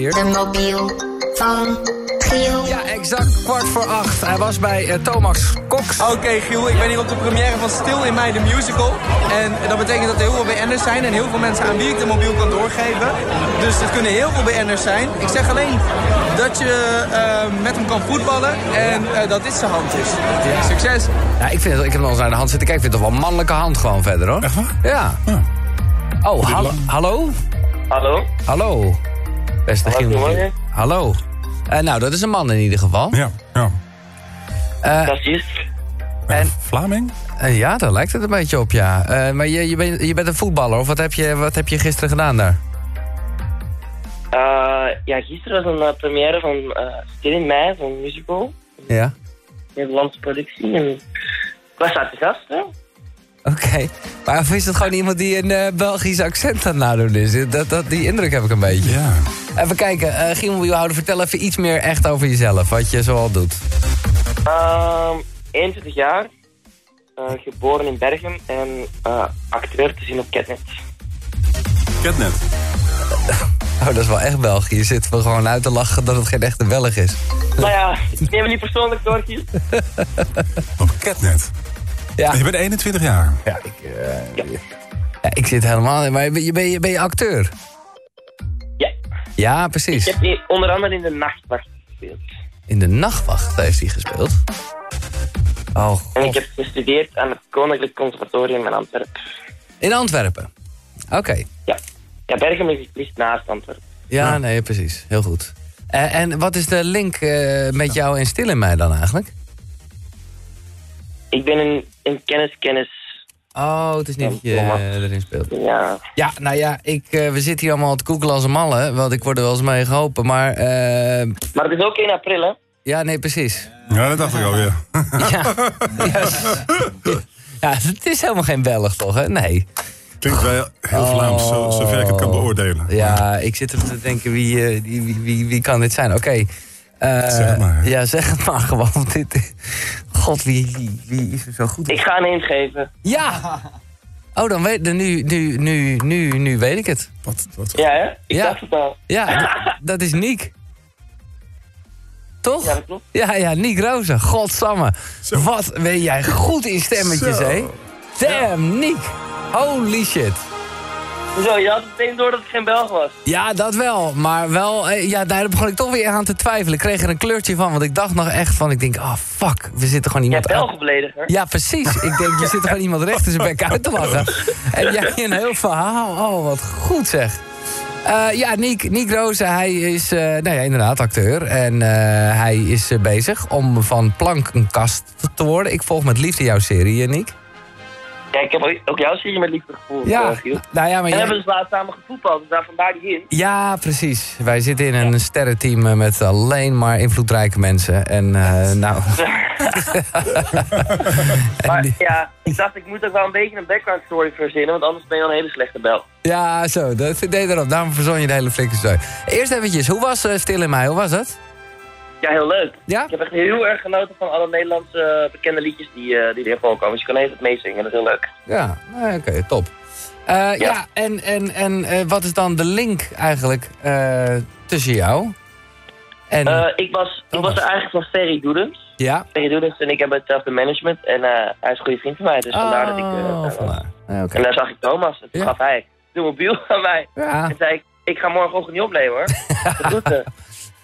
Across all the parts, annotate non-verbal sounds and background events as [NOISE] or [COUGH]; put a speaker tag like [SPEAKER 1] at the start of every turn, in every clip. [SPEAKER 1] Hier.
[SPEAKER 2] De mobiel van Giel.
[SPEAKER 1] Ja, exact kwart voor acht. Hij was bij eh, Thomas Cox.
[SPEAKER 3] Oké Giel, ik ben hier op de première van Stil in mij, de musical. En dat betekent dat er heel veel BN'ers zijn en heel veel mensen aan wie ik de mobiel kan doorgeven. Dus het kunnen heel veel BN'ers zijn. Ik zeg alleen dat je eh, met hem kan voetballen en eh, dat dit zijn hand is. Succes!
[SPEAKER 1] Ja, ik, vind, het- ik heb nog eens naar de hand zitten kijken. Ik vind het toch wel een mannelijke hand gewoon verder, hoor.
[SPEAKER 4] Echt waar?
[SPEAKER 1] Ja. Oh, hal- hallo?
[SPEAKER 5] Hallo?
[SPEAKER 1] Hallo. Beste
[SPEAKER 5] Hallo,
[SPEAKER 1] Giel.
[SPEAKER 5] goedemorgen.
[SPEAKER 1] Hallo. Eh, nou, dat is een man in ieder geval.
[SPEAKER 4] Ja, ja.
[SPEAKER 5] Racist?
[SPEAKER 1] En-
[SPEAKER 4] Vlaming?
[SPEAKER 1] Eh, ja, daar lijkt het een beetje op, ja. Eh, maar je, je, bent- je bent een voetballer, of wat heb je, wat heb je gisteren gedaan daar?
[SPEAKER 5] Eh, ja, gisteren was een eh, première van eh, Stil in Mei, van een musical.
[SPEAKER 1] Ja.
[SPEAKER 5] Nederlandse productie. En ik was daar te gast, hè.
[SPEAKER 1] Oké. Maar of is het gewoon iemand die een eh, Belgisch accent aan het nadoen is? Dat, dat, die indruk heb ik een beetje.
[SPEAKER 4] Ja.
[SPEAKER 1] Even kijken, eh Giel, wil je houden? Vertel even iets meer echt over jezelf, wat je zoal doet.
[SPEAKER 5] Ehm, 21 jaar, eh, geboren in Bergen en eh, acteur te zien op Catnet.
[SPEAKER 4] Catnet.
[SPEAKER 1] Oh, dat is wel echt België. Je zit wel gewoon uit te lachen dat het geen echte Belg is.
[SPEAKER 5] nou ja, ik neem het niet persoonlijk door, Giel.
[SPEAKER 4] Op Catnet.
[SPEAKER 1] Ja.
[SPEAKER 4] En Ah. Je bent 21 jaar.
[SPEAKER 1] Ja, ik, eh, ja, ik zit helemaal... Maar ben je, ben je, ben je acteur?
[SPEAKER 5] Ja,
[SPEAKER 1] Ja,
[SPEAKER 5] ik
[SPEAKER 1] precies.
[SPEAKER 5] heb hier onder andere in de nachtwacht gespeeld.
[SPEAKER 1] In de nachtwacht heeft hij gespeeld. Oh,
[SPEAKER 5] En ik
[SPEAKER 1] god.
[SPEAKER 5] heb gestudeerd aan het Koninklijk Conservatorium in Antwerpen.
[SPEAKER 1] In Antwerpen? Oké.
[SPEAKER 5] Ja, ja Bergen ligt- ligt naast Antwerpen.
[SPEAKER 1] Ja, nee, precies. Heel goed. Eh, en wat is de link eh, met jou en Stil in mij dan eigenlijk?
[SPEAKER 5] Ik ben een, een kennis, kennis.
[SPEAKER 1] Oh, het is niet dat je eh, erin speelt.
[SPEAKER 5] Ja.
[SPEAKER 1] Ja, nou ja, ik, eh, we zitten hier allemaal te googelen als een malle, want ik word er wel eens mee geholpen, maar... eh,
[SPEAKER 5] Maar het is ook 1 april, hè?
[SPEAKER 1] ja, nee, precies.
[SPEAKER 4] Ja, dat dacht ik al, ja.
[SPEAKER 1] Ja, yes. ja, het is helemaal geen Belg, toch? Hè? Nee.
[SPEAKER 4] [LAUGHS] Klinkt wel heel Vlaams, zo, zover ik het kan beoordelen.
[SPEAKER 1] Ja, ik zit even te denken, wie, eh, die- wie, wie, wie kan dit zijn? Oké. eh,
[SPEAKER 4] Zeg het maar.
[SPEAKER 1] Ja, zeg het maar gewoon. [LAUGHS] Dit, God, wie, wie, wie is er zo goed? in?
[SPEAKER 5] Ik ga een hint geven.
[SPEAKER 1] Ja! Oh, dan weet, dan nu, nu, nu, nu, nu weet ik het.
[SPEAKER 4] Wat, wat,
[SPEAKER 5] Ja, hè? Ik
[SPEAKER 1] Ja.
[SPEAKER 5] dacht het al.
[SPEAKER 1] Ja, d- dat is Niek. Toch?
[SPEAKER 5] Ja, dat klopt.
[SPEAKER 1] Ja, ja, Niek Rozen. Godsamme.
[SPEAKER 4] Zo.
[SPEAKER 1] Wat ben jij goed in stemmetjes,
[SPEAKER 4] Zo.
[SPEAKER 1] hè? Damn, Niek. Holy shit.
[SPEAKER 5] Zo, je had het meteen door dat ik geen Belg was.
[SPEAKER 1] Ja, dat wel. Maar wel, eh, ja, daar begon ik toch weer aan te twijfelen. Ik kreeg er een kleurtje van, want ik dacht nog echt van... Ik denk, ah, fuck, we zitten gewoon
[SPEAKER 5] Jij
[SPEAKER 1] iemand...
[SPEAKER 5] hebt
[SPEAKER 1] aan-
[SPEAKER 5] Belg beledigd, hè?
[SPEAKER 1] Ja, precies. Ik denk, je zit gewoon iemand recht in zijn bek uit te lachen. En jij een heel verhaal. Oh, wat goed zeg. Eh, ja, Niek, Niek Rozen, hij is eh, nou ja, inderdaad acteur. En eh, hij is eh, bezig om van plank een kast te worden. Ik volg met liefde jouw serie, eh, Niek.
[SPEAKER 5] Ja, ik heb ook- ook jouw serie met liefde gevoeld,
[SPEAKER 1] Ja,
[SPEAKER 5] eh, Giel.
[SPEAKER 1] nou ja, maar
[SPEAKER 5] En
[SPEAKER 1] jij-
[SPEAKER 5] hebben dus laatst samen gevoetbald, dus daar vandaar die hint.
[SPEAKER 1] Ja, precies. Wij zitten in een sterrenteam eh, met alleen maar invloedrijke mensen. En
[SPEAKER 5] [LAUGHS]
[SPEAKER 1] eh, nou... En
[SPEAKER 5] Maar
[SPEAKER 1] die-
[SPEAKER 5] ja, ik dacht ik moet ook wel een beetje een background story verzinnen, want anders ben je wel een hele slechte Belg.
[SPEAKER 1] Ja, zo, dat deed erop. Daarom verzon je de hele flinke zooi. Eerst eventjes, hoe was eh, Stil in mij? Hoe was dat?
[SPEAKER 5] Ja, heel leuk.
[SPEAKER 1] Ja?
[SPEAKER 5] Ik heb echt heel erg genoten van alle Nederlandse eh, bekende liedjes die, eh die erin voorkomen. Dus je kan even het meezingen, dat is heel leuk.
[SPEAKER 1] Ja, nou ja, oké, top. Eh, ja.
[SPEAKER 5] Ja.
[SPEAKER 1] en, en, en eh, wat is dan de link eigenlijk eh, tussen jou en...
[SPEAKER 5] Eh, ik, was, ik was
[SPEAKER 1] Thomas.
[SPEAKER 5] er eigenlijk van Ferry Doedens.
[SPEAKER 1] ja?
[SPEAKER 5] Ferry Doedens dus en ik hebben hetzelfde management en eh, hij is een goede vriend van mij, dus vandaar dat ik... eh,
[SPEAKER 1] Oh,
[SPEAKER 5] daar was.
[SPEAKER 1] vandaar. Ja, oké.
[SPEAKER 5] En daar zag ik Thomas en toen
[SPEAKER 1] Ja.
[SPEAKER 5] gaf hij de mobiel [LAUGHS] aan mij.
[SPEAKER 1] Ja,
[SPEAKER 5] En zei ik, ik ga morgenochtend niet opnemen
[SPEAKER 1] [LAUGHS]
[SPEAKER 5] hoor. Dat doet ze.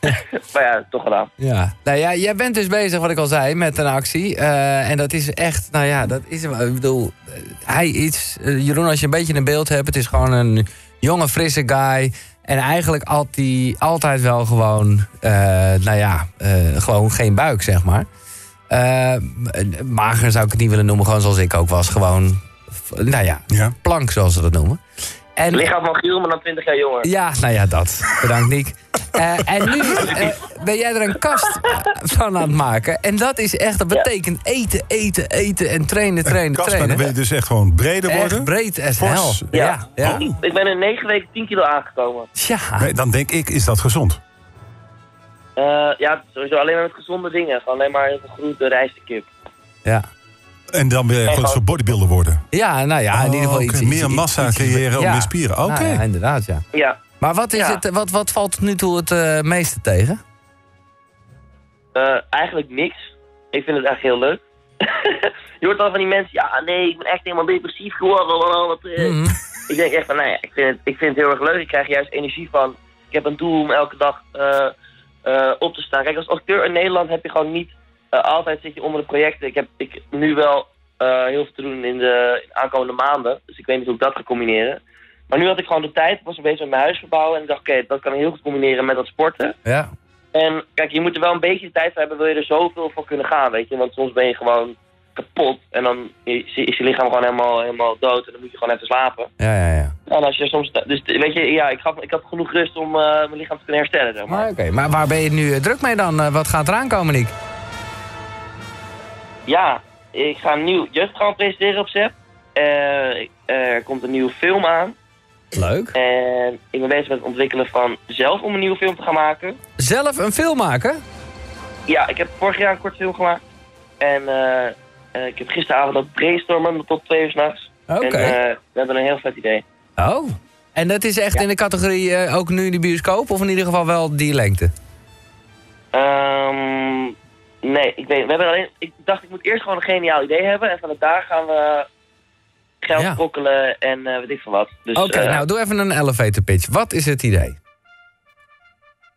[SPEAKER 5] [LAUGHS] maar ja, toch gedaan.
[SPEAKER 1] ja. Nou ja, jij bent dus bezig, wat ik al zei, met een actie. eh, en dat is echt, nou ja, dat is... Ik bedoel, eh, hij iets... eh, Jeroen, als je een beetje een beeld hebt, het is gewoon een jonge, frisse guy... En eigenlijk had hij altijd wel gewoon, eh, nou ja, eh, gewoon geen buik, zeg maar. Eh, mager zou ik het niet willen noemen, gewoon zoals ik ook was. Gewoon, f- nou ja,
[SPEAKER 4] Ja.
[SPEAKER 1] plank zoals ze dat noemen. En,
[SPEAKER 5] Lichaam van Giel, maar dan 20 jaar jonger.
[SPEAKER 1] ja, nou ja, dat. Bedankt, Niek. Eh, en nu eh, ben jij er een kast van aan het maken. En dat is echt, dat betekent eten, eten, eten en trainen, trainen,
[SPEAKER 4] Kasper, dan wil je
[SPEAKER 1] trainen.
[SPEAKER 4] dus echt gewoon breder
[SPEAKER 1] Echt
[SPEAKER 4] worden.
[SPEAKER 1] breed as
[SPEAKER 4] Fors.
[SPEAKER 1] hell. Ja, ja.
[SPEAKER 5] Ik, ik ben in 9 weken 10 kilo aangekomen.
[SPEAKER 1] Tja.
[SPEAKER 4] Nee, dan denk ik, is dat gezond?
[SPEAKER 5] Eh, ja, sowieso alleen maar met gezonde dingen. Gewoon alleen maar heel veel groente, rijst en kip.
[SPEAKER 1] Ja.
[SPEAKER 4] En dan wil je gewoon zo'n bodybuilder worden.
[SPEAKER 1] ja, nou ja, in ieder geval
[SPEAKER 4] Oh,
[SPEAKER 1] iets.
[SPEAKER 4] oké,
[SPEAKER 1] iets-
[SPEAKER 4] meer
[SPEAKER 1] iets-
[SPEAKER 4] massa
[SPEAKER 1] iets-
[SPEAKER 4] creëren om
[SPEAKER 1] ja.
[SPEAKER 4] meer spieren. Oké.
[SPEAKER 1] Nou ja, inderdaad, ja.
[SPEAKER 5] Ja,
[SPEAKER 1] Maar wat, is
[SPEAKER 5] Ja.
[SPEAKER 1] het, wat, wat valt tot nu toe het eh, meeste tegen?
[SPEAKER 5] Eh, eigenlijk niks. Ik vind het echt heel leuk. [LAUGHS] je hoort al van die mensen, ja nee, ik ben echt helemaal depressief geworden. blablabla.
[SPEAKER 1] Mhm.
[SPEAKER 5] eh. Ik denk echt van, nou ja, ik vind, het, ik vind het heel erg leuk. Ik krijg er juist energie van. Ik heb een doel om elke dag eh, eh, op te staan. Kijk, als acteur in Nederland heb je gewoon niet... eh, altijd zit je onder de projecten. Ik heb ik, nu wel eh, heel veel te doen in de, in de aankomende maanden. Dus ik weet niet hoe ik dat ga combineren. Maar nu had ik gewoon de tijd. Ik was een beetje met mijn huis verbouwen. En ik dacht, oké, dat kan ik heel goed combineren met dat sporten.
[SPEAKER 1] Ja.
[SPEAKER 5] En kijk, je moet er wel een beetje de tijd voor hebben, wil je er zoveel voor kunnen gaan, weet je. Want soms ben je gewoon kapot en dan is is je lichaam gewoon helemaal, helemaal dood en dan moet je gewoon even slapen.
[SPEAKER 1] Ja, ja, ja.
[SPEAKER 5] En als je soms, dus weet je, ja, ik had, ik had genoeg rust om eh, mijn lichaam te kunnen herstellen, zeg maar.
[SPEAKER 1] Maar oké, maar waar ben je nu eh, druk mee dan? Eh, wat gaat eraan komen, Nick?
[SPEAKER 5] Ja, ik ga een nieuw jeugdprogramma presenteren op ZEP. Eh, er komt een nieuwe film aan
[SPEAKER 1] Leuk.
[SPEAKER 5] en ik ben bezig met het ontwikkelen van zelf om een nieuwe film te gaan maken.
[SPEAKER 1] Zelf een film maken?
[SPEAKER 5] Ja, ik heb vorig jaar een kort film gemaakt en eh, eh, ik heb gisteravond ook brainstormen tot twee uur s'nachts.
[SPEAKER 1] Oké.
[SPEAKER 5] En eh, we hebben een heel vet idee.
[SPEAKER 1] Oh. En dat is echt in de categorie eh, ook nu in de bioscoop? Of in ieder geval wel die lengte?
[SPEAKER 5] Ehm, nee, ik weet we hebben alleen, Ik dacht, ik moet eerst gewoon een geniaal idee hebben. En vanuit daar gaan we geld
[SPEAKER 1] Ja.
[SPEAKER 5] brokkelen en eh, weet ik veel wat. Dus,
[SPEAKER 1] Oké,
[SPEAKER 5] eh,
[SPEAKER 1] nou doe even een elevator pitch. Wat is het idee?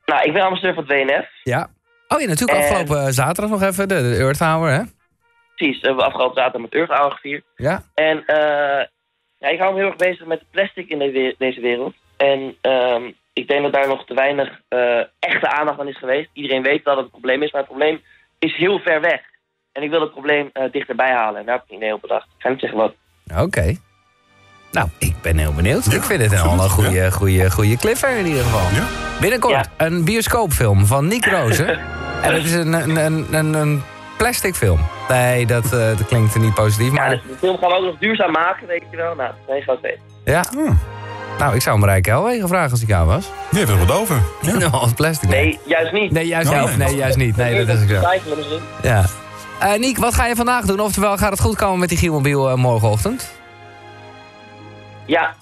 [SPEAKER 5] nou, ik ben ambassadeur van het WNF.
[SPEAKER 1] Ja. Oh ja, natuurlijk
[SPEAKER 5] Eh.
[SPEAKER 1] afgelopen zaterdag nog even, de, de Earth Hour, hè?
[SPEAKER 5] Precies, we hebben afgelopen zaterdag met Earth Hour gevierd.
[SPEAKER 1] Ja.
[SPEAKER 5] En eh, ja, ik hou me heel erg bezig met de plastic in de we- deze wereld. En ehm, ik denk dat daar nog te weinig eh, echte aandacht aan is geweest. Iedereen weet wel dat het probleem is, maar het probleem is heel ver weg. En ik wil het probleem eh, dichterbij halen. En daar heb ik een idee op bedacht. Ik ga niet zeggen wat.
[SPEAKER 1] Oké. Nou, ik ben heel benieuwd. ik vind het een
[SPEAKER 4] absoluut,
[SPEAKER 1] al een goede, goede, goede cliffhanger in ieder geval.
[SPEAKER 4] Ja.
[SPEAKER 1] Binnenkort
[SPEAKER 5] Ja.
[SPEAKER 1] een bioscoopfilm van Nick
[SPEAKER 5] [LAUGHS]
[SPEAKER 1] Rozen. en het is een, een, een, een, een plastic film. Nee, dat, eh, dat klinkt niet positief,
[SPEAKER 5] Ja,
[SPEAKER 1] maar
[SPEAKER 5] de, de film gaan we ook nog duurzaam maken, weet je wel. Nou, nee, groot weet.
[SPEAKER 1] ja. Nou, ik zou hem Rijk Helwegen vragen als ik jou was.
[SPEAKER 4] Je hebt er wat over.
[SPEAKER 1] [LAUGHS]
[SPEAKER 4] Ja.
[SPEAKER 1] Nou, als plastic.
[SPEAKER 5] Nee, juist niet. dus
[SPEAKER 1] Nee, juist
[SPEAKER 4] Oh,
[SPEAKER 1] niet.
[SPEAKER 4] nee.
[SPEAKER 1] Nee, juist niet. Nee, dat is ik zo.
[SPEAKER 5] Twijfelen misschien.
[SPEAKER 1] Ja. Eh, Niek, wat ga je vandaag doen? Oftewel, gaat het goed komen met die Gielmobiel eh, morgenochtend?
[SPEAKER 5] Ja,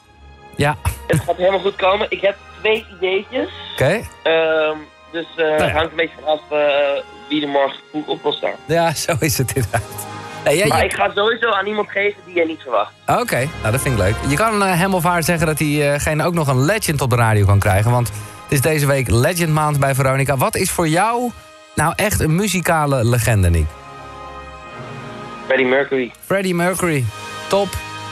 [SPEAKER 1] Ja,
[SPEAKER 5] het gaat helemaal goed komen. Ik heb twee ideetjes.
[SPEAKER 1] oké. Nou
[SPEAKER 5] Ehm, dus eh, het
[SPEAKER 1] ja.
[SPEAKER 5] hangt een beetje vanaf eh, wie er morgen vroeg op wil staan.
[SPEAKER 1] Ja, zo is het inderdaad. Nee, jij-
[SPEAKER 5] Maar
[SPEAKER 1] jij-
[SPEAKER 5] ik ga het sowieso aan iemand geven die jij niet verwacht.
[SPEAKER 1] Oké, nou dat vind ik leuk. Je kan eh, hem of haar zeggen dat diegene ook nog een legend op de radio kan krijgen. Want het is deze week Legend Maand bij Veronica. Wat is voor jou nou echt een muzikale legende, Niek?
[SPEAKER 5] Freddie Mercury.
[SPEAKER 1] Freddie Mercury, top.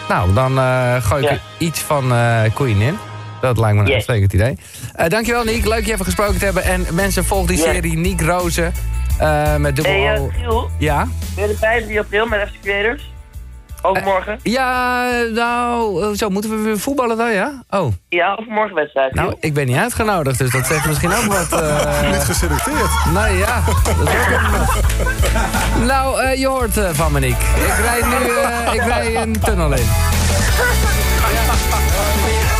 [SPEAKER 1] Nou, dan eh, gooi ik
[SPEAKER 5] Ja.
[SPEAKER 1] er iets van eh, Queen in. Dat lijkt me een
[SPEAKER 5] Yes.
[SPEAKER 1] uitstekend idee. Eh, dankjewel, Niek. Leuk je even gesproken te hebben. En mensen, volg die
[SPEAKER 5] Ja.
[SPEAKER 1] serie Niek Rozen eh, met dubbel
[SPEAKER 5] Hey,
[SPEAKER 1] O.
[SPEAKER 5] eh, Giel,
[SPEAKER 1] Ja?
[SPEAKER 5] ben je erbij op 3 april met FC Creators? Overmorgen?
[SPEAKER 1] Ja, nou, eh, zo moeten we weer voetballen dan, ja? Oh,
[SPEAKER 5] Ja, overmorgen wedstrijd.
[SPEAKER 1] nou, ik ben niet uitgenodigd, dus dat zegt misschien ook wat. eh,
[SPEAKER 4] Net geselecteerd.
[SPEAKER 1] Nou ja, dat is ook een- Nou, eh, je hoort eh, van me, Nick. Ik rijd nu eh, ik rijd een tunnel in. Ja.